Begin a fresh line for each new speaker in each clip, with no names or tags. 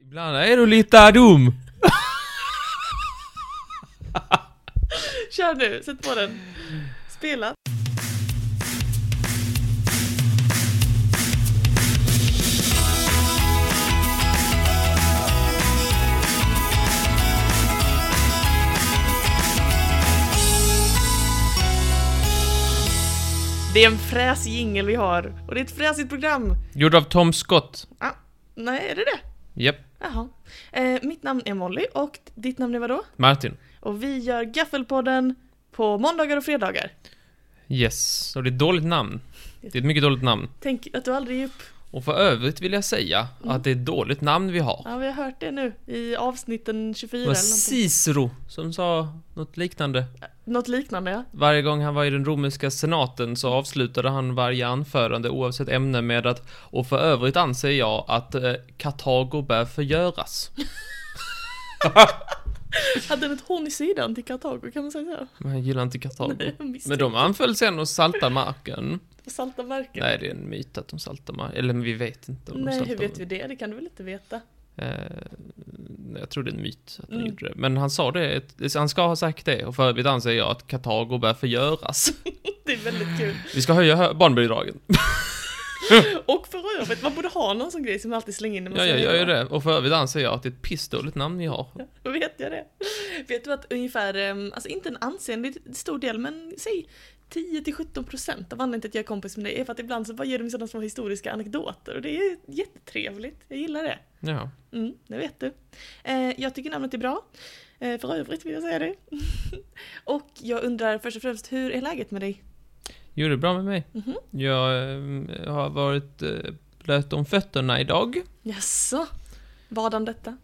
Ibland är du lite dum.
Kör nu, sätt på den. Spela. Det är en fräsig jingel vi har och det är ett fräsigt program.
Gjord av Tom Scott.
Ah, nej, är det det?
Japp.
Jaha. Eh, mitt namn är Molly och ditt namn är vadå?
Martin.
Och vi gör Gaffelpodden på måndagar och fredagar.
Yes. Och det är ett dåligt namn. Det är ett mycket dåligt namn.
Tänk att du aldrig ger upp.
Och för övrigt vill jag säga att det är ett dåligt namn vi har.
Mm. Ja, vi har hört det nu i avsnitten
Det
24
var
eller någonting.
Cicero som sa något liknande.
Något liknande ja.
Varje gång han var i den romerska senaten så avslutade han varje anförande oavsett ämne med att och för övrigt anser jag att eh, Kartago bör förgöras.
Hade den ett horn i sidan till Kartago kan man säga så?
Men jag gillar inte Kartago.
Jag missade.
Men de anföll sen och saltade marken.
Salta marken.
Nej, det är en myt att de saltar marken. Eller men vi vet inte om de
Nej,
saltar
hur vet vi det? Det kan du väl inte veta?
Eh, jag tror det är en myt att han
Mm.
gjorde det. Men han sa det, han ska ha sagt det. Och för övrigt anser jag att Kartago bör förgöras.
Det är väldigt kul.
Vi ska höja hö- barnbidragen.
Och för övrigt, man borde ha någon sån grej som man alltid slänger in när man
Ja, jag
säger
gör ju det. Och för övrigt anser jag att det är ett pissdåligt namn vi har.
Då vet jag det. Vet du att ungefär, ehm, alltså inte en ansenlig stor del, men säg 10-17% av anledningen till att jag är kompis med dig är för att ibland så bara ger du mig sådana små historiska anekdoter och det är jättetrevligt. Jag gillar det.
Ja.
Mm, det vet du. Eh, jag tycker namnet är bra. Eh, för övrigt vill jag säga det. och jag undrar först och främst, hur är läget med dig?
Jo, det är bra med mig.
Mhm.
Jag eh, har varit eh, blöt om fötterna idag.
Jaså? Vad om detta?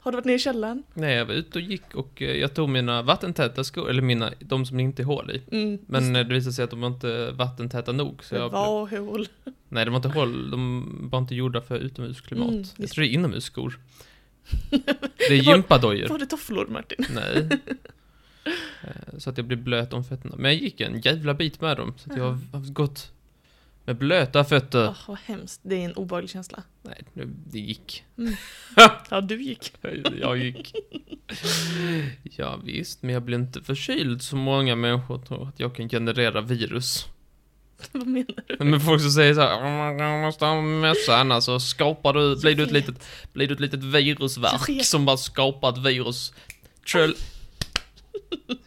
Har du varit nere i källaren?
Nej, jag var ute och gick och eh, jag tog mina vattentäta skor, eller mina, de som det inte är hål i.
Mm,
Men eh, det visade sig att de var inte vattentäta nog. Så
det
jag blev...
var hål.
Nej, de var inte hål, de var inte gjorda för utomhusklimat.
Mm,
jag
just
tror det är inomhusskor. Det är
Var-
gympadojor.
Var det tofflor Martin?
Nej. Eh, Så att jag blev blöt om fötterna. Men jag gick en jävla bit med dem. Så att jag har haft gått med blöta fötter.
Åh, vad hemskt. Det är en obehaglig känsla.
Nej, det- det gick.
Ja, du gick.
Jag gick. Ja, visst, men jag blir inte förkyld som många människor tror att jag kan generera virus.
Vad menar du?
Men folk som säger så här, "Åh, man måste ha mössa annars så skapar du, blir du ett litet, blir du ett litet
Jag
virusverk
vet.
som bara skapar ett virus. Tröll.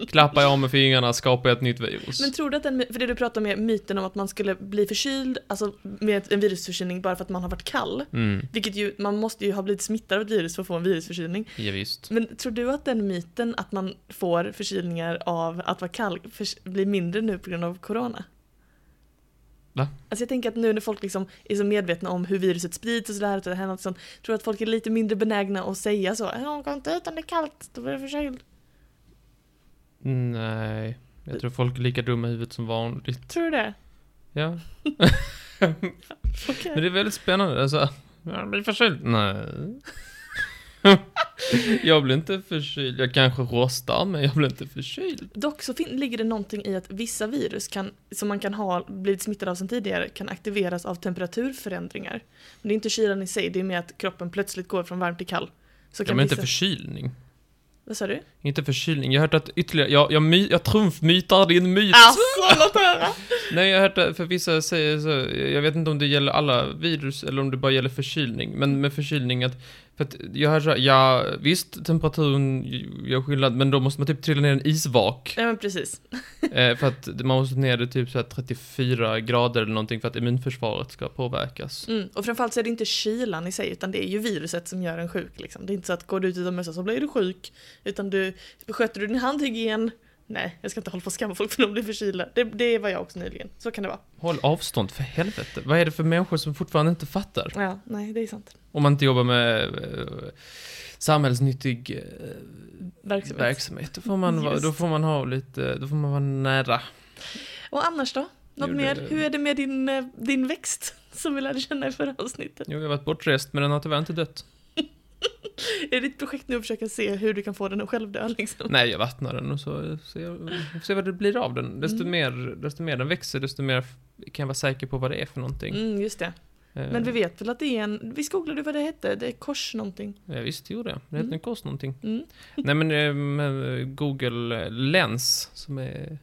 Klappar jag med fingrarna skapar jag ett nytt virus.
Men tror du att den, för det du pratar om är myten om att man skulle bli förkyld, alltså med ett- en virusförkylning bara för att man har varit kall.
Mm,
Vilket ju, man måste ju ha blivit smittad av ett virus för att få en virusförkylning.
ja, visst.
Men tror du att den myten att man får förkylningar av att vara kall förs- blir mindre nu på grund av corona?
Va?
Alltså jag tänker att nu när folk liksom är så medvetna om hur viruset sprids och sådär, och det här och sånt, tror du att folk är lite mindre benägna att säga så? "Ja, Gå inte ut om det är kallt, då blir du förkyld.
Nej, jag tror folk är lika dumma i huvudet som vanligt.
Tror du det?
Ja,
Okej.
men det är väldigt spännande. Alltså, jag blir förkyld. Nej. jag blir inte förkyld. Jag kanske rostar, men jag blir inte förkyld.
Dock så fin- ligger det någonting i att vissa virus kan, som man kan ha blivit smittad av sedan tidigare kan aktiveras av temperaturförändringar. Men det är inte kylan i sig, det är mer att kroppen plötsligt går från varm till kall. Så
Jag
kan
blir
vissa...
inte förkylning.
Vad sa du?
Inte förkylning. Jag har hört att ytterligare... Jag, jag, my, jag trumfmytar din myt.
Alltså, låt höra!
Nej, jag har hört att för vissa säger så... Jag vet inte om det gäller alla virus eller om det bara gäller förkylning. Men med förkylning att... För att jag har hört så här, ja visst temperaturen gör skillnad men då måste man typ trilla ner en isvak.
Ja men precis.
Eh, för att man måste ner det typ så här 34 grader eller någonting för att immunförsvaret ska påverkas.
Mm. Och framförallt så är det inte kylan i sig utan det är ju viruset som gör en sjuk. Liksom. Det är inte så att går du ut utomhus så blir du sjuk. Utan du, sköter du din handhygien? Nej, jag ska inte hålla på och skamma folk för de blir förkylda. Det, det var jag också nyligen. Så kan det vara.
Håll avstånd för helvete. Vad är det för människor som fortfarande inte fattar?
Ja, nej det är sant.
Om man inte jobbar med eh, samhällsnyttig eh,
Verksamhet.
verksamhet. Då får, man, vara-
Just.
då får man ha lite, då får man vara nära.
Och annars då? Något
Jo, det-
mer? Hur är det med din, eh, din växt som vi lärde känna i förra avsnittet?
Jo, jag har varit bortrest men den har tyvärr inte dött.
Är ditt projekt nu att försöka se hur du kan få den att själv dö liksom?
Nej, jag vattnar den och så ser jag får se vad det blir av den. Desto,
Mm.
mer, desto mer den växer, desto mer f- kan jag vara säker på vad det är för någonting.
Mm, just det.
Eh,
Men vi vet väl att det är en, visst googlade du vad det hette? Det är kors någonting.
ja, visst, det gjorde jag. Det hette
Mm.
en kost någonting.
Mm.
Nej men ehm, Google Lens som är...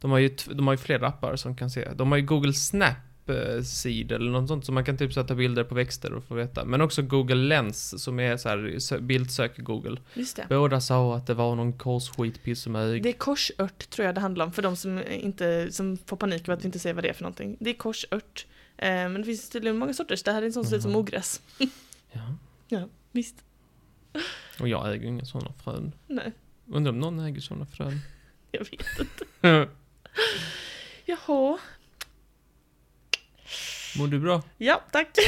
De har, ju, t- de har ju flera appar som kan se. De har ju Google Snap eh, Seed eller något sånt som man kan typ sätta bilder på växter och få veta. Men också Google Lens som är så här sö- bildsök i Google.
Just det.
Båda sa att det var någon korsskitpiss med
Det är korsört tror jag det handlar om för de som, inte, som får panik över att vi inte säger vad det är för någonting. Det är korsört. Eh, men det finns tydligen många sorters. Det här är en sån som ser ut som
Mhm.
ogräs.
Ja.
Ja, visst.
Och jag äger ju inga sådana frön.
Nej,
Undrar om någon äger sådana frön.
jag vet. Jaha.
Mår du bra?
Ja, tack.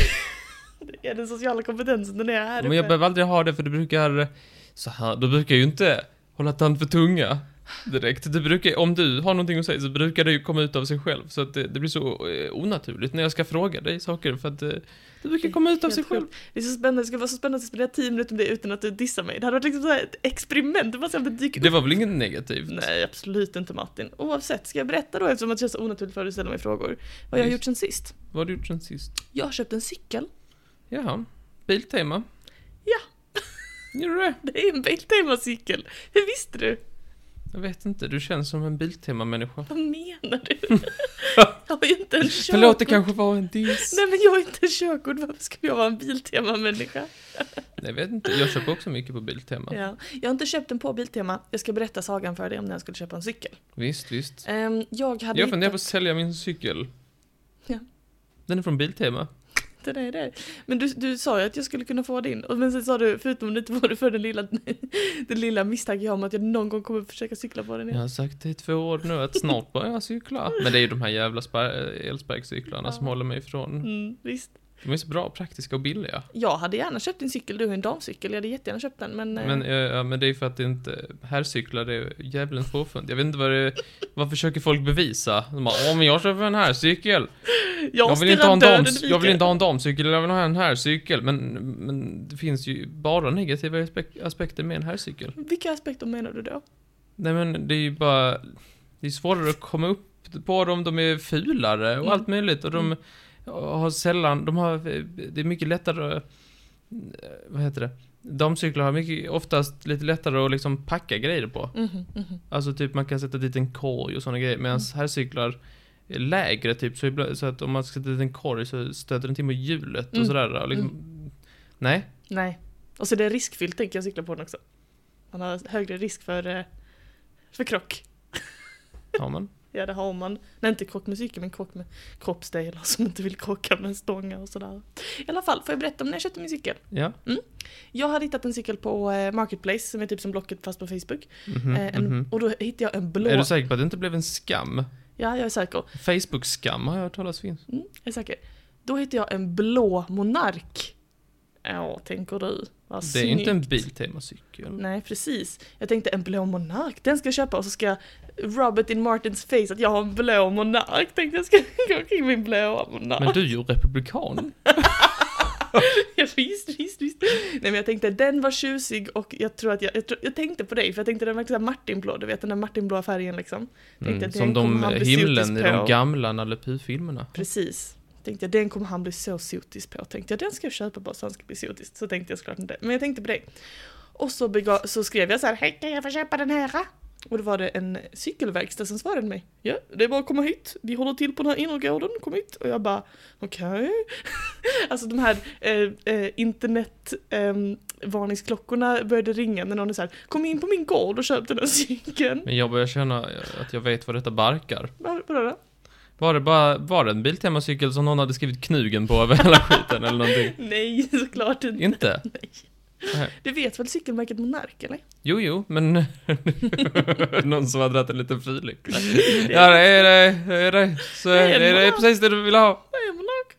Det är den sociala kompetensen, den är här
Men jag
uppe.
behöver aldrig ha det för du brukar... Så här, du brukar ju inte hålla tand för tunga direkt. Du brukar, om du har någonting att säga så brukar det ju komma ut av sig själv. Så att det, det blir så eh, onaturligt när jag ska fråga dig saker för att eh, det brukar
Det är
komma ut av
helt
sig själv.
Det är så spännande, det ska vara så spännande att spendera 10 minuter med dig utan att du dissar mig. Det hade varit liksom så här ett experiment, det bara så att det dyker
Det var väl inget negativt?
Nej, absolut inte Martin. Oavsett, ska jag berätta då eftersom att det känns så onaturligt för dig att ställa mig frågor. Vad jag har
Visst.
gjort sen sist?
Vad har du gjort sen sist?
Jag har köpt en cykel.
Jaha. Biltema?
Ja.
Gjorde du det?
Det är en Biltema-cykel. Hur visste du?
Jag vet inte, du känns som en Biltema-människa.
Vad menar du? jag har ju inte en körkort.
Förlåt, det kanske var en diss.
Nej men jag har inte körkort, varför skulle jag vara en Biltema-människa?
Nej, Jag vet inte, jag köper också mycket på Biltema.
Ja. Jag har inte köpt den på Biltema. Jag ska berätta sagan för dig om när jag skulle köpa en cykel.
Visst, visst.
Ehm, jag hade
Jag funderar på
hittat-
att sälja min cykel.
Ja.
Den är från Biltema.
Det där är det. Men du, du sa ju att jag skulle kunna få din. Och men sen sa du, förutom det var det för den lilla, den lilla misstanken jag har om att jag någon gång kommer försöka cykla på den
Jag
igen.
har sagt det i två år nu att snart börjar jag cykla. Men det är ju de här jävla spar- elsparkcyklarna som
Ja.
håller mig ifrån.
Mm, visst.
De är så bra, praktiska och billiga.
Jag hade gärna köpt en cykel, du har ju en damcykel, jag hade jättegärna köpt den men... eh,
Men, eh, ja, men det är ju för att det inte, här cyklar det är djävulens påfund. Jag vet inte vad det, vad försöker folk bevisa? De bara, åh men jag köper en här cykel. Jag vill inte
stirrar
ha en dam,
döden i
jag vill
ögonen.
inte ha en damcykel, jag vill ha en här cykel. Men, men det finns ju bara negativa aspek- aspekter med en här cykel.
Vilka aspekter menar du då?
Nej men det är ju bara, det är svårare att komma upp på dem, de är fulare och
Mm.
allt möjligt och de
Mm.
har sällan, de har, det är mycket lättare, eh, vad heter det? Damcyklar har mycket, oftast lite lättare att liksom packa grejer på.
Mhm, mhm.
Alltså typ man kan sätta dit en korg och sådana grejer, medan
Mm.
här cyklar är lägre typ, så, ibland, så att om man ska sätta dit en korg så stöter den till med hjulet och
Mm.
sådär. Och liksom, Nej,
Nej. Och så det är riskfyllt tänker jag cykla på den också. Man har högre risk för, eh, för krock.
har man.
Ja det har man. Nej inte krock med cykel men krock med kroppsdelar som inte vill krocka med stångar och sådär. I alla fall, får jag berätta om när jag köpte min cykel?
Ja.
Jag hade hittat en cykel på eh, Marketplace som är typ som Blocket fast på Facebook.
Mhm,
Eh, en,
mhm.
Och då hittade jag en blå.
Är du säker på att det inte blev en skam?
Ja, jag är säker.
Facebook-skam har jag hört talas finns.
Mm, jag är säker. Då hittade jag en blå monark. Ja, tänker du. Vad
Det är ju inte en
snyggt.
Biltema-cykel.
Nej, precis. Jag tänkte en blå monark, den ska jag köpa och så ska jag rub it in Martins face att jag har en blå monark. Tänkte jag ska gå omkring med en blå monark.
Men du är ju republikan.
Ja, visst, visst, visst. Nej men jag tänkte den var tjusig och jag tror att jag, jag, tror, jag tänkte på dig för jag tänkte den var liksom martinblå, du vet den där martinblåa färgen liksom. Tänkte
Mm,
att
som
den kommer
de
han bli
himlen
sotis
i
på.
de gamla Nalle Puh-filmerna.
Precis. Tänkte jag den kommer han bli så sotis på. Tänkte jag den ska jag köpa bara så han ska bli sotis. Så tänkte jag såklart inte. Men jag tänkte på dig. Och så, begav, så skrev jag så här, hej kan jag få köpa den här? Och då var det en cykelverkstad som svarade mig. Ja, det är bara att komma hit. Vi håller till på den här innergården, kom hit. Och jag bara, okej. alltså de här eh, eh, internet eh, varningsklockorna började ringa när någon är så här, kom in på min gård och köp den här cykeln.
Men jag börjar känna att jag vet vad detta barkar.
Vad- Vadå då?
Var det bara, var det en Biltema-cykel som någon hade skrivit knugen på över hela skiten eller någonting?
Nej, såklart inte.
Inte?
Nej.
Nej.
Du vet väl cykelmärket Monark eller?
Jo, jo, men... någon som har dragit en liten fyrlyckla. Ja, det är det, är det, så är det, det är precis det du vill ha.
Nej, jag är monark.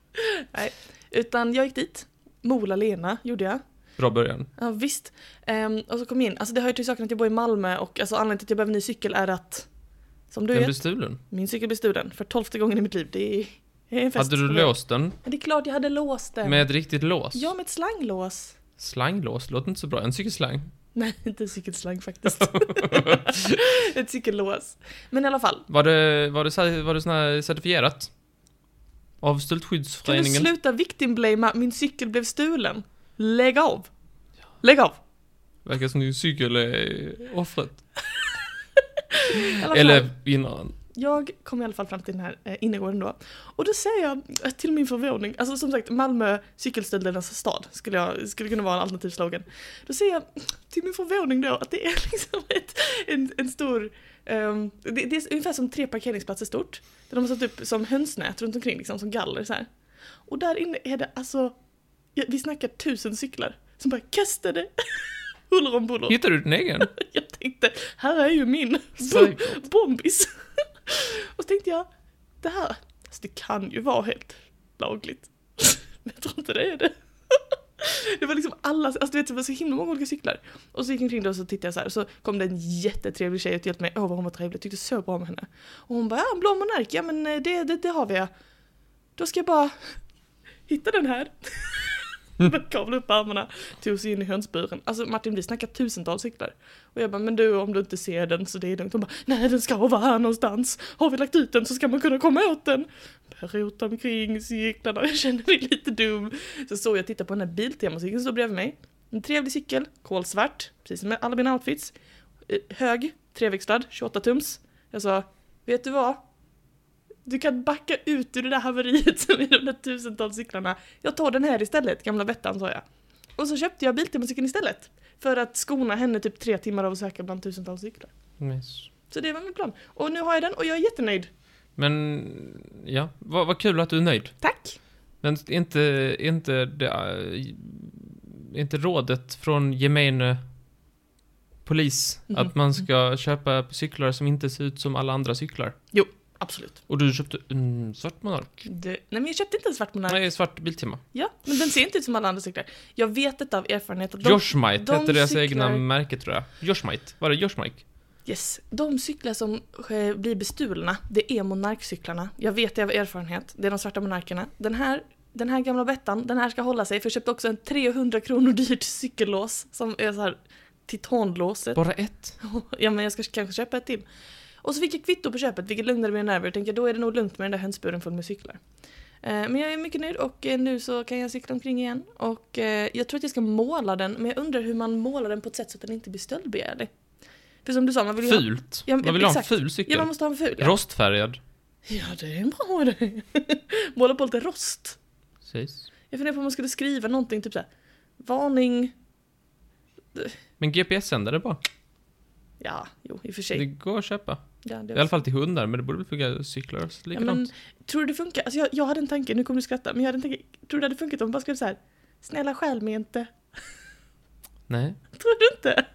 Nej, utan jag gick dit. Mola-Lena gjorde jag.
Bra början.
Ja, visst. Ehm, och så kom jag in. Alltså det hör ju till saken att jag bor i Malmö och alltså, anledningen till att jag behöver ny cykel är att som du
Den
vet,
blev stulen.
min cykel blir stulen för tolfte gången i mitt liv. Det är det är en fest.
Hade du
för mig.
låst den
Ja, det är klart jag hade låst den.
med ett riktigt lås?
Ja, med ett slanglås.
Slanglås låter inte så bra. En cykelslang.
Nej, inte en cykelslang faktiskt. ett cykellås. Men i alla fall,
Var det, var det, cer- var det sån här certifierat? Av
Kan du
Stöldskyddsföreningen.
sluta victimblama, min cykel blev stulen? Lägg av! Lägg av!
Verkar som din cykel är offret.
I alla fall.
Eller vinnaren.
Jag kom i alla fall fram till den här eh, innergården då. Och då säger jag eh, till min förvåning, alltså som sagt Malmö cykelstöldernas stad skulle, jag, skulle kunna vara en alternativ slogan. Då säger jag till min förvåning då att det är liksom ett, en, en stor, ehm, det, det är ungefär som tre parkeringsplatser stort. Där de har satt upp som hönsnät runt omkring liksom, som galler så här. Och där inne är det alltså, ja, vi snackar tusen cyklar som bara kastade huller om buller.
Hittar du din egen?
Jag tänkte, här är ju min
Säkert.
bombis. Och så tänkte jag, det här, alltså det kan ju vara helt lagligt. Men jag tror inte det är det. Det var liksom alla, alltså du vet det var så himla många olika cyklar. Och så gick jag omkring då och så tittade jag så här och så kom det en jättetrevlig tjej och hjälpte mig. Åh vad hon var trevlig, jag tyckte så bra om henne. Och hon bara, ja en blå monark, ja men eh, det, det, det har vi ja. Då ska jag bara hitta den här. Men kavlade upp armarna, tog sig in i hönsburen. Alltså Martin vi snackar tusentals cyklar. Och jag bara, men du om du inte ser den så det är lugnt. Hon bara, nej den ska vara här någonstans. Har vi lagt ut den så ska man kunna komma åt den. Jag rotade omkring cyklarna och jag kände mig lite dum. Så såg jag titta på den här Biltemacykeln som stod bredvid mig. En trevlig cykel, kolsvart, precis som med alla mina outfits. Eh, Hög, treväxlad, 28 tums. Jag sa, vet du vad? Du kan backa ut ur det där haveriet som är de där tusentals cyklarna. Jag tar den här istället, gamla Bettan sa jag. Och så köpte jag Biltemacykeln istället. För att skona henne typ tre timmar av att söka bland tusentals cyklar.
Nice.
Så det var min plan. Och nu har jag den och jag är jättenöjd.
Men, ja. Vad vad kul att du är nöjd.
Tack!
Men är inte, är inte det, är inte rådet från gemene polis
Mhm.
att man ska köpa cyklar som inte ser ut som alla andra cyklar?
Absolut.
Och du köpte en svart monark?
Det, nej men jag köpte inte en svart monark.
Nej, svart Biltema.
Ja, men den ser inte ut som alla andra cyklar. Jag vet detta av erfarenhet att de,
Joshmite
de
hette deras
cyklar-
egna märke tror jag. Joshmite, var det Joshmike?
yes, de cyklar som eh, blir bestulna, det är monarkcyklarna. Jag vet det av erfarenhet. Det är de svarta monarkerna. Den här, den här gamla Bettan, den här ska hålla sig. För jag köpte också en 300 kronor dyrt cykellås som är så här titanlåset.
Bara ett?
ja men jag ska kanske köpa ett till. Och så fick jag kvitto på köpet vilket lugnade mina nerver. Jag tänkte då är det nog lugnt med den där hönsburen full med cyklar. Eh, Men jag är mycket nöjd och eh, nu så kan jag cykla omkring igen. Och eh, jag tror att jag ska måla den men jag undrar hur man målar den på ett sätt så att den inte blir stöldbegärlig. För som du sa, man vill ju ha,
Fult?
Ja, men-
man vill ha en
exakt.
ful cykel?
ja, man måste ha en ful. Ja.
Rostfärgad?
ja det är en bra idé. måla på lite rost.
Precis.
Jag funderar på om man skulle skriva någonting typ såhär varning.
Men GPS-sändare bara?
Ja, jo i och för
Det
sig.
går att köpa.
Ja, det är
I alla fall till hundar, men det borde väl funka till cyklar också,
Ja,
likadant.
men, tror du det funkar? Alltså jag, jag hade en tanke, nu kommer du skratta, men jag hade en tanke. Tror du det hade funkat om man bara skrev så här? Snälla stjäl mig inte.
Nej.
Tror du inte?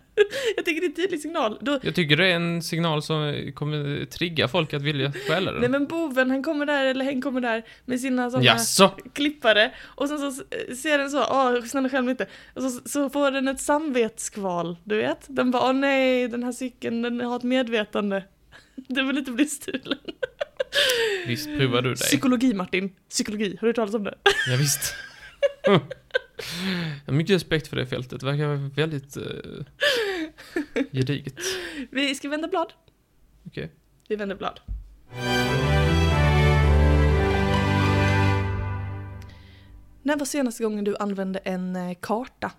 Jag tänker det är en tydlig signal. Då,
Jag tycker det är en signal som kommer trigga folk att vilja stjäla
nej
den.
men boven, han kommer där, eller hen kommer där med sina sådana
Jaså?
klippare. Och sen så s- ser den så, åh snälla stjäl mig inte. Och så, så får den ett samvetskval, du vet. Den bara, åh nej, den här cykeln, den har ett medvetande. Den vill inte bli stulen.
Visst provar du dig?
Psykologi Martin, psykologi, har du hört talas om det?
Ja, visst. Jag har mycket respekt för det fältet. Det verkar väldigt uh, gediget.
Vi ska vända blad.
Okej.
Vi vänder blad. När var senaste gången du använde en eh, karta?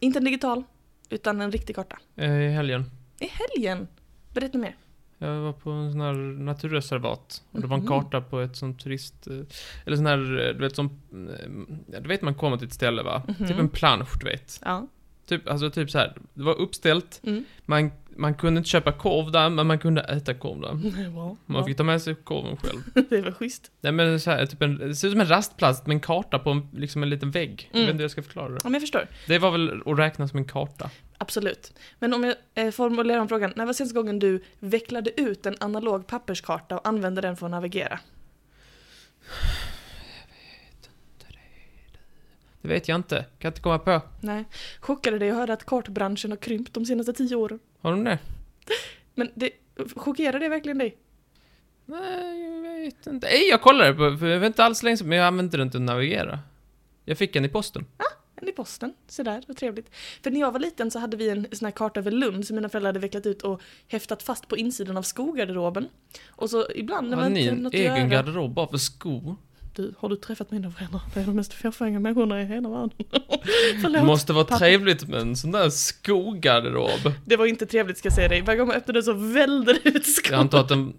Inte en digital, utan en riktig karta.
Eh, I helgen.
I helgen! Berätta mer.
Jag var på en sån här naturreservat. Och det var en
Mhm.
karta på ett sånt turist... eh, Eller sån här, eh, du vet som... eh, ja, Du vet man kommer till ett ställe va?
Mhm.
Typ en plansch, du vet.
Ja.
Typ, alltså typ så här. Det var uppställt.
Mm.
Man, man kunde inte köpa korv där, men man kunde äta korv där.
Wow.
Man fick ta med sig korven själv.
Det var schysst.
Nej men så här, typ en, det ser ut som en rastplats med en karta på en, liksom en liten vägg. Jag
Mm.
vet inte hur jag ska förklara det.
Ja, men jag förstår.
Det var väl att räkna som en karta.
Absolut. Men om jag eh, formulerar om frågan. När var senaste gången du vecklade ut en analog papperskarta och använde den för att navigera?
Det vet jag inte. Kan inte komma på.
Nej. Chockade dig att höra att kartbranschen har krympt de senaste tio åren?
Har de det?
Men det, chockerar det verkligen dig?
Nej, jag vet inte. Nej, jag kollade på, för jag vet inte alls länge sedan, men jag använde den till att navigera. Jag fick den i posten.
än i posten. Så där, vad trevligt. För när jag var liten så hade vi en sån här karta över Lund som mina föräldrar hade vecklat ut och häftat fast på insidan av skogarderoben. Och så ibland när
Hade
man
ni
inte hade
en
något att göra.
egen garderob bara för skor?
Du, har du träffat mina föräldrar? Det är de mest fåfänga människorna i hela världen.
Det
Förlåt.
måste vara
pappa.
trevligt med en sån där skogarderob.
Det var inte trevligt ska jag säga dig. Varje gång man öppnar den så välder det ut skor.
Jag antar att den...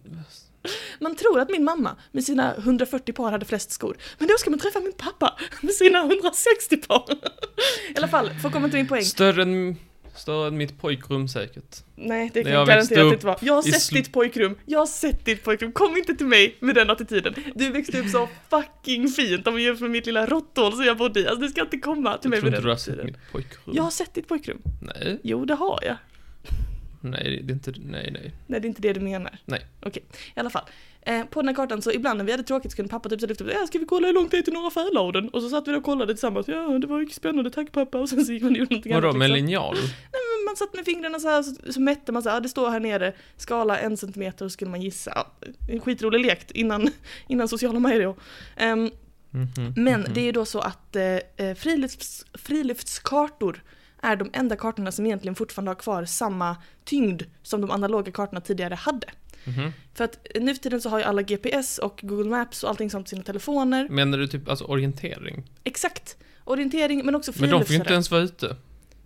Man tror att min mamma med sina 140 par hade flest skor. Men då ska man träffa min pappa med sina 160 par. I alla fall, för att komma till min poäng.
Större än, större än mitt pojkrum säkert.
Nej, det
När
kan
jag
jag
växte
garanterat
upp
inte vara. Jag har
i
sett
sl-
ditt pojkrum, jag har sett ditt pojkrum. Kom inte till mig med den attityden. Du växte upp så fucking fint om vi jämför med mitt lilla råtthål som jag bodde i. Alltså du ska inte komma till
Jag
mig
tror
med
inte
den
du har sett
attityden.
mitt pojkrum.
Jag har sett ditt pojkrum.
Nej,
Jo, det har jag.
nej, det är inte... Nej, nej.
Nej, det är inte det du menar.
Nej.
Okej, i alla fall. Eh, på den här kartan så ibland när vi hade tråkigt så kunde pappa typ så här lyfta upp äh, ska vi kolla hur långt det är till Norra Färladen? Och så satt vi då och kollade tillsammans, ja det var ju spännande, tack pappa. Och sen så gick man och gjorde någonting
Vadå,
annat.
med
liksom.
linjal?
Men Man satt med fingrarna så här så, så mätte man så här, ah, det står här nere, skala en centimeter och så skulle man gissa. Ja, En skitrolig lek innan, innan sociala medier. Ehm,
Mhm,
men
mhm.
det är ju då så att eh, eh, frilufts, friluftskartor är de enda kartorna som egentligen fortfarande har kvar samma tyngd som de analoga kartorna tidigare hade.
Mhm.
För att eh, nu för tiden så har ju alla GPS och Google Maps och allting sånt på sina telefoner.
Menar du typ alltså orientering?
Exakt! Orientering men också
Men de får ju
friluftsare.
inte ens vara ute.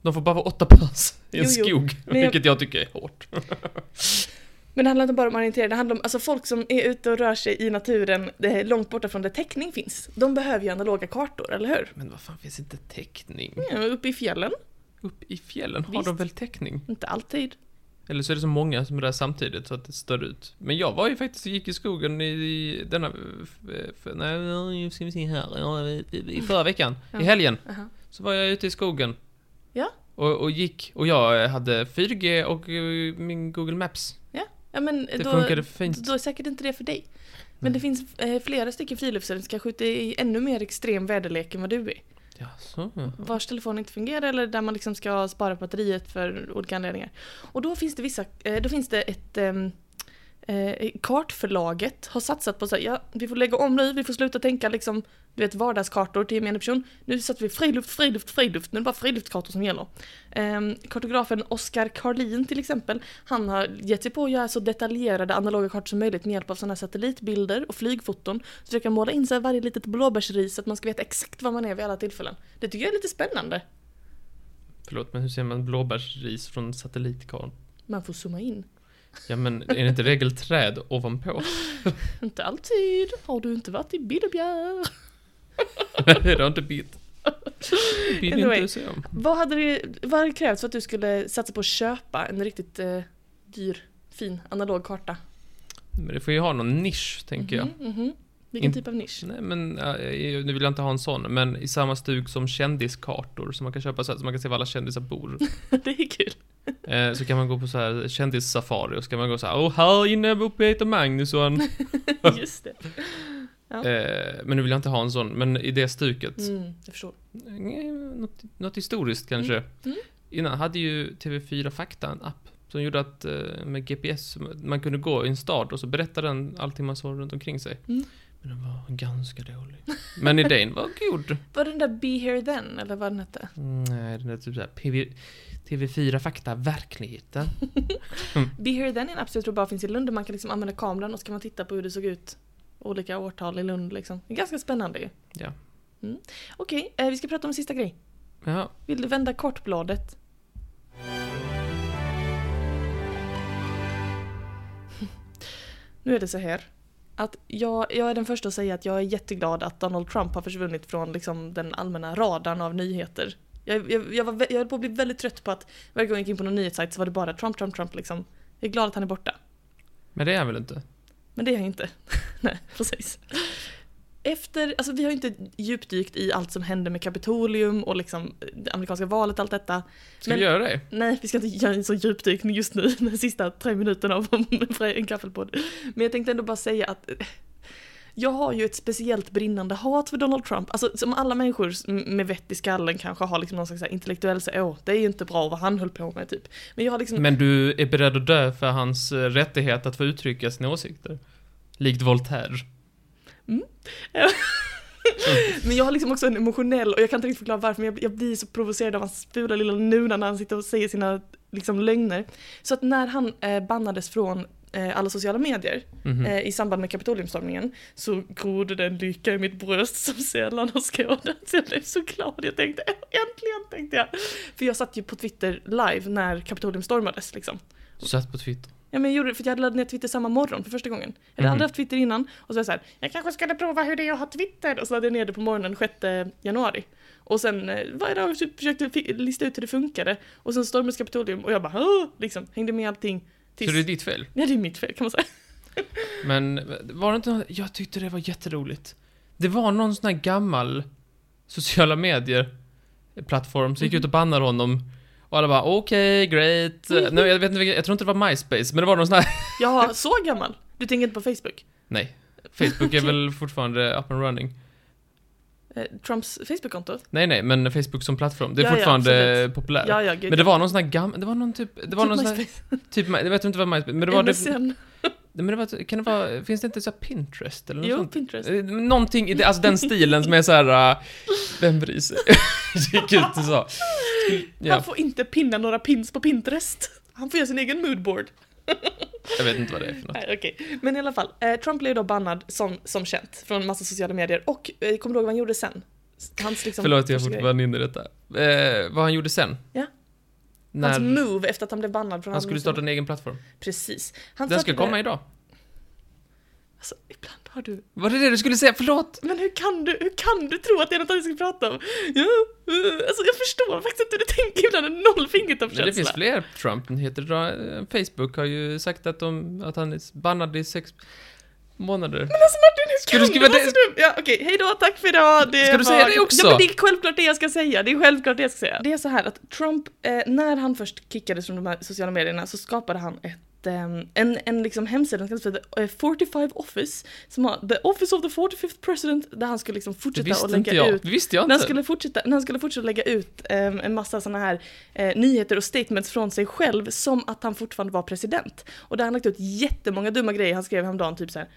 De får bara vara åtta pass i en
Jo, jo.
skog,
Men jag-
vilket jag tycker är hårt.
Men det handlar inte bara om orientering, det handlar om alltså, folk som är ute och rör sig i naturen det är långt borta från där täckning finns. De behöver ju analoga kartor, eller hur?
Men vad fan finns inte täckning?
Ja, uppe i fjällen,
Upp i fjällen har
Visst.
de väl täckning?
inte alltid.
Eller så är det så många som är där samtidigt så att det stör ut. Men jag var ju faktiskt och gick i skogen i, i denna... f- f- Nej, nu ska vi se här. Ja, i- I förra veckan,
Ja.
i helgen,
Aha.
så var jag ute i skogen.
Ja.
Och, och gick. Och jag eh, hade 4G och eh, min Google Maps.
Ja men
Det
då,
funkade fint. Mm.
då är säkert inte det för dig. Men det finns eh, flera stycken friluftsare som kanske ute i ännu mer extrem väderlek än vad du är.
Ja, så.
Vars telefon inte fungerar eller där man liksom ska spara batteriet för olika anledningar. Och då finns det vissa, eh, då finns det ett ehm, eh, kartförlaget har satsat på så här, ja, vi får lägga om nu, vi får sluta tänka liksom, du vet vardagskartor till gemene person. Nu satsar vi friluft, friluft, friluft, nu är det bara friluftskartor som gäller. Ehm, kartografen Oskar Karlin till exempel, han har gett sig på att göra så detaljerade analoga kartor som möjligt med hjälp av sådana här satellitbilder och flygfoton. Så du kan måla in så här varje litet blåbärsris så att man ska veta exakt var man är vid alla tillfällen. Det tycker jag är lite spännande.
Förlåt, men hur ser man blåbärsris från satellitkartan?
Man får zooma in.
Ja, men är det inte regel träd ovanpå?
Inte alltid. Har du inte varit i Billebjerg?
det har inte bit. Bit
Anyway.
inte så.
Vad hade, det, vad hade det krävts för att du skulle satsa på att köpa en riktigt eh, dyr, fin analog karta?
Men det får ju ha någon nisch, tänker jag.
Mhm, mhm. Vilken
In-
typ av nisch?
Nej men, eh, eh, nu vill jag inte ha en sån, men i samma stug som kändiskartor som man kan köpa så här, så man kan se var alla kändisar bor.
det är kul.
Eh, så kan man gå på så här kändissafari och så kan man gå så här, åh här inne bor Peter Magnusson.
Just det.
Eh, men nu vill jag inte ha en sån, men i det stuket.
Mm, jag förstår.
Eh, Något, något historiskt kanske.
Mm.
Innan hade ju TV4 Fakta en app som gjorde att eh, med GPS, man kunde gå i en stad och så berättade den allting man såg runt omkring sig.
Mm.
Men den var ganska dålig. Men idén var god.
Var det den där Be Here Then, eller vad den hette?
Mm, Nej, den är typ såhär PV, TV4 Fakta Verkligheten.
Be Here Then är en app som jag tror bara finns i Lund där man kan liksom använda kameran och så kan man titta på hur det såg ut olika årtal i Lund liksom. Det är ganska spännande ju.
Ja.
Mm. Okej, eh, vi ska prata om en sista grej.
Ja,
Vill du vända kortbladet? Nu är det så här att jag, jag är den första att säga att jag är jätteglad att Donald Trump har försvunnit från liksom den allmänna radarn av nyheter. Jag, jag, jag, var, vä- jag höll på att bli väldigt trött på att varje gång jag gick in på någon nyhetssajt så var det bara Trump, Trump, Trump liksom. Jag är glad att han är borta.
men det är han väl inte?
Men det är jag inte. Nej, precis. Efter, alltså vi har ju inte djupdykt i allt som hände med Kapitolium och liksom det amerikanska valet, allt detta.
Ska
Men-
vi göra det?
Nej, vi ska inte göra en sån djupdykning just nu, de sista tre minuterna av en kaffelpodd. Men jag tänkte ändå bara säga att eh, jag har ju ett speciellt brinnande hat för Donald Trump. Alltså som alla människor s- med vett i skallen kanske har liksom någon slags så här intellektuell så åh, det är ju inte bra vad han höll på med typ. Men jag har liksom,
Men du är beredd att dö för hans eh, rättighet att få uttrycka sina åsikter? Likt Voltaire.
men jag har liksom också en emotionell, och jag kan inte riktigt förklara varför, men jag, jag blir så provocerad av hans fula lilla nuna när han sitter och säger sina liksom lögner. Så att när han eh, bannades från eh, alla sociala medier
Mhm.
eh, i samband med Kapitoliumstormningen så grodde det en lycka i mitt bröst som sällan har skådats. Jag blev så glad. Jag tänkte äntligen, tänkte jag. För jag satt ju på Twitter live när Kapitolium stormades liksom.
Satt på Twitter.
Ja, men jag gjorde det för att jag hade laddat ner Twitter samma morgon för första gången. Jag hade
Mhm.
aldrig haft Twitter innan. Och så var jag så här, jag kanske skulle prova hur det är att ha Twitter. Och så laddade jag ner det på morgonen 6 januari. Och sen eh, varje dag försökte- försökte fi- lista ut hur det funkade. Och sen stormades Kapitolium och jag bara Åh! liksom hängde med i allting. Tills...
Så det är ditt fel.
Ja, det är mitt fel kan man säga.
Men var det inte, jag tyckte det var jätteroligt. Det var någon sån här gammal sociala medier eh, plattform som gick ut och bannade honom. Och alla bara okej, great. Nej, jag, vet inte, vilken- jag tror inte det var MySpace, men det var någon sån här...
Jag är så gammal. Du tänker inte på Facebook?
Nej. Facebook är väl fortfarande up and running.
Eh, Trumps Facebook-konto?
Nej, nej, men Facebook som plattform. Det är
Ja, ja,
fortfarande
absolut.
populärt.
Ja, ja, gud.
Men det var någon sån här gammal, det var någon typ, det var någon sån här, typ, jag vet inte vad MySpace, men det var typ- det,
MSN.
men det var, kan det vara, finns det inte så här Pinterest eller något
Jo,
sånt?
Pinterest.
Eh, Någonting, i det- alltså den stilen som är så här. eh, vem bryr sig? Gick ut och sa.
Han
Ja,
får inte pinna några pins på Pinterest. Han får göra sin egen moodboard.
jag vet inte vad det är för något.
Nej, okej. Men i alla fall, eh, Trump blev ju då bannad som, som känt från massa sociala medier och eh, kommer du ihåg vad han gjorde sen? Hans liksom...
Förlåt, jag är
första grej.
fortfarande inne i detta. Eh, vad han gjorde sen?
Ja.
När
Hans move efter att han blev bannad från
han skulle starta en egen plattform.
Precis. Han
Den ska
startade-
komma idag.
Alltså, ibland har du...
Var det det du skulle säga? Förlåt!
Men hur kan du, hur kan du tro att det är något vi ska prata om? Ja, eh, alltså jag förstår faktiskt inte hur du tänker ibland, en noll
Men det finns
fingertoppskänsla.
fler Trump-nyheter idag. Eh, Facebook har ju sagt att, de, att han är bannad i sex månader.
Men alltså Martin, hur
Ska
kan
du skriva
du vara
det?
så dum? Ja, okej, hejdå, tack för idag! Det
Ska du
var...
säga det också?
Ja, men det är självklart det jag ska säga, det är självklart det jag ska säga. Det är så här att Trump, eh, när han först kickades från de här sociala medierna så skapade han ett ehm, en, en liksom hemsida som kallas för the, eh, 45 Office, som har The Office of the 45th President, där han skulle liksom
Det
fortsätta och
visste inte
lägga
jag.
ut
Det visste jag
när han,
inte.
skulle fortsätta, när han skulle fortsätta lägga ut ehm, en massa sådana här eh, nyheter och statements från sig själv som att han fortfarande var president. Och där har han lagt ut jättemånga dumma grejer. Han skrev häromdagen typ så här.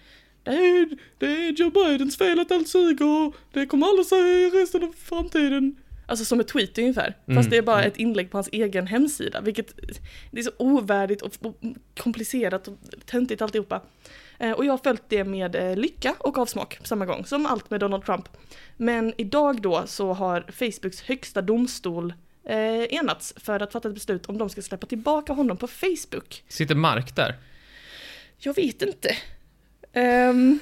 Det är, det är Joe Bidens fel att allt suger. Det kommer alla säga resten av framtiden. Alltså som ett tweet ungefär. Fast
Mm,
det är bara
mm.
ett inlägg på hans egen hemsida. Vilket det är så ovärdigt och, och komplicerat och töntigt alltihopa. Eh, och jag har följt det med eh, lycka och avsmak på samma gång. Som allt med Donald Trump. Men idag då så har Facebooks högsta domstol eh, enats för att fatta ett beslut om de ska släppa tillbaka honom på Facebook.
Sitter Mark där?
Jag vet inte. Ehm.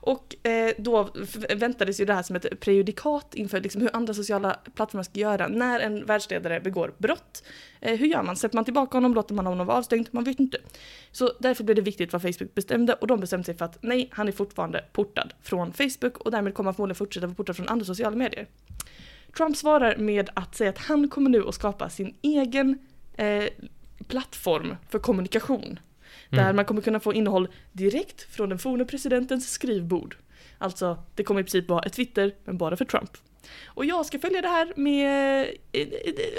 Och eh, då f- väntades ju det här som ett prejudikat inför liksom hur andra sociala plattformar ska göra när en världsledare begår brott. Eh, hur gör man? Sätter man tillbaka honom? Låter man honom vara avstängd? Man vet inte. Så därför blev det viktigt vad Facebook bestämde och de bestämde sig för att nej, han är fortfarande portad från Facebook och därmed kommer han förmodligen fortsätta vara portad från andra sociala medier. Trump svarar med att säga att han kommer nu att skapa sin egen eh, plattform för kommunikation. Där man kommer kunna få innehåll direkt från den forne presidentens skrivbord. Alltså, det kommer i princip vara ett Twitter, men bara för Trump. Och jag ska följa det här med eh, eh,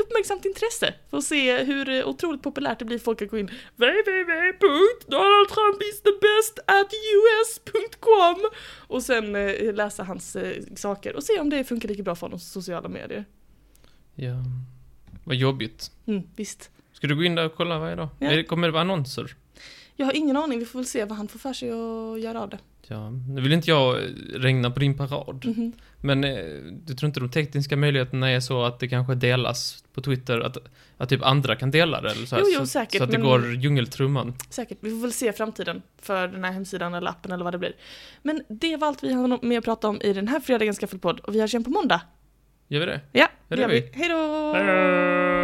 uppmärksamt intresse för att se hur eh, otroligt populärt det blir folk att gå in www.donaldtrumpisthebestatus.com och sen eh, läsa hans eh, saker och se om det funkar lika bra för honom som sociala medier.
Ja. Vad jobbigt.
Mm, visst.
Ska du gå in där och kolla varje dag?
Ja.
Är det- Kommer det vara annonser?
Jag har ingen aning, vi får väl se vad han får för sig att göra av det.
Ja, nu vill inte jag eh, regna på din parad.
Mhm.
Men eh, du tror inte de tekniska möjligheterna är så att det kanske delas på Twitter? Att, att typ andra kan dela det? Eller så här,
Jo, jo,
så,
säkert,
Så att det
men-
går djungeltrumman.
Säkert, vi får väl se framtiden för den här hemsidan eller appen eller vad det blir. Men det var allt vi hann med att prata om i den här fredagens Gaffelpodd och vi hörs igen på måndag.
Gör vi det?
Ja,
Ja,
det
det
gör
gör
vi. Hej då!
Hej då!
Mm.